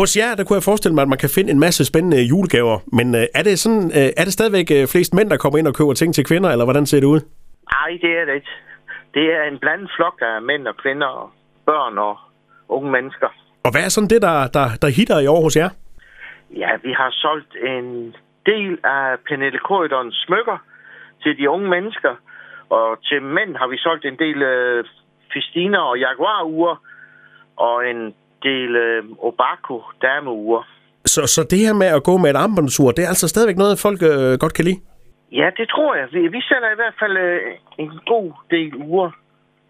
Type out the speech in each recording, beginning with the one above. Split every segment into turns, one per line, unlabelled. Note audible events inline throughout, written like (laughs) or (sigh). Hos jer, der kunne jeg forestille mig, at man kan finde en masse spændende julegaver, men øh, er det, sådan, øh, er det stadigvæk øh, flest mænd, der kommer ind og køber ting til kvinder, eller hvordan ser det ud?
Nej, det er det ikke. Det er en blandet flok af mænd og kvinder og børn og unge mennesker.
Og hvad er sådan det, der, der, der hitter i år hos jer?
Ja, vi har solgt en del af Pernille Corridorens smykker til de unge mennesker. Og til mænd har vi solgt en del øh, festiner og jaguarure og en del øh, Obako dameure.
Så, så det her med at gå med et armbåndsur, det er altså stadigvæk noget, folk øh, godt kan lide?
Ja, det tror jeg. Vi, vi sælger i hvert fald øh, en god del uger.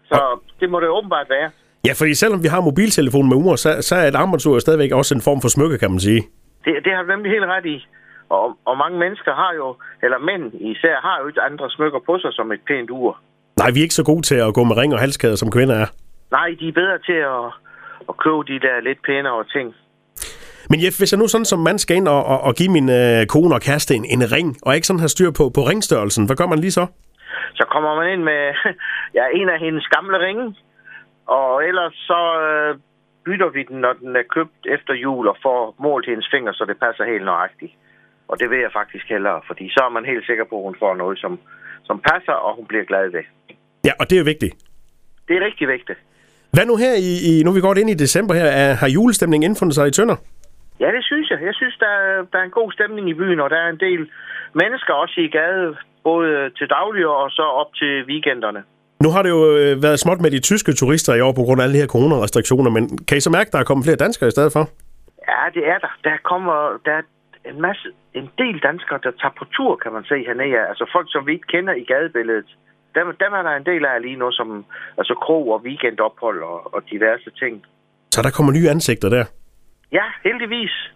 Så det må det åbenbart være.
Ja, fordi selvom vi har mobiltelefonen med ure, så, så er et armbåndsur stadigvæk også en form for smykke, kan man sige.
Det, det har du nemlig helt ret i. Og, og mange mennesker har jo, eller mænd især, har jo ikke andre smykker på sig som et pænt ur.
Nej, vi er ikke så gode til at gå med ring og halskæder, som kvinder er.
Nej, de er bedre til at, at købe de der lidt pænere ting.
Men Jeff, hvis jeg nu sådan som mand skal ind og, og, og give min øh, kone og kæreste en, en ring, og ikke sådan har styr på, på ringstørrelsen, hvad gør man lige så?
Så kommer man ind med (laughs) ja, en af hendes gamle ringe, og ellers så øh, bytter vi den, når den er købt efter jul, og får målt hendes finger, så det passer helt nøjagtigt. Og det vil jeg faktisk hellere, fordi så er man helt sikker på, at hun får noget, som, som passer, og hun bliver glad ved.
Ja, og det er jo vigtigt.
Det er rigtig vigtigt.
Hvad nu her i, i nu er vi godt ind i december her, er, har julestemningen indfundet sig i Tønder?
Ja, det synes jeg. Jeg synes, der, er- der er en god stemning i byen, og der er en del mennesker også i gade, både til daglig og så op til weekenderne.
Nu har det jo øh, været småt med de tyske turister i år på grund af alle de her coronarestriktioner, men kan I så mærke, at der er kommet flere danskere i stedet for?
Ja, det er der. Der kommer der er en masse, en del danskere, der tager på tur, kan man se hernede. Altså folk, som vi ikke kender i gadebilledet. Dem, dem er der en del af lige nu, som altså krog og weekendophold og, og diverse ting.
Så der kommer nye ansigter der.
Ja, heldigvis.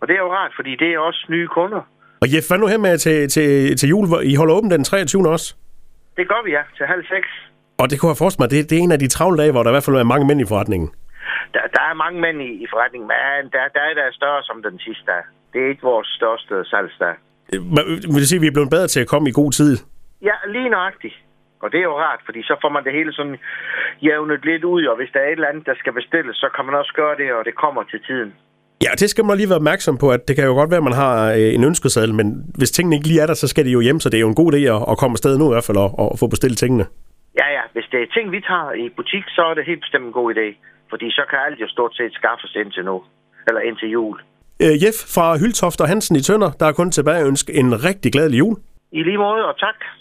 Og det er jo rart, fordi det er også nye kunder.
Og Jeff, hvad nu her med til, til, til jul? Hvor- I holder åbent den 23. også?
Det gør vi, ja, til halv seks.
Og det kunne jeg forestille mig, det, det er en af de travle dage, hvor der i hvert fald er mange mænd i forretningen.
Der, der er mange mænd i, i forretningen, men der, der er der større som den sidste. Det er ikke vores største salgsdag.
Øh, men, øh, Vil det sige, at vi er blevet bedre til at komme i god tid?
Ja, lige nøjagtigt. Og det er jo rart, fordi så får man det hele sådan jævnet lidt ud, og hvis der er et eller andet, der skal bestilles, så kan man også gøre det, og det kommer til tiden.
Ja, det skal man lige være opmærksom på, at det kan jo godt være, at man har øh, en ønskeseddel, men hvis tingene ikke lige er der, så skal de jo hjem, så det er jo en god idé at, at komme afsted nu i hvert fald og, og få bestilt tingene.
Ja, ja, hvis det er ting, vi tager i butik, så er det helt bestemt en god idé, fordi så kan alt jo stort set skaffes indtil nu, eller indtil jul.
Øh, Jeff fra Hyltoft og Hansen i Tønder, der er kun tilbage at ønske en rigtig glædelig jul.
I lige måde, og tak.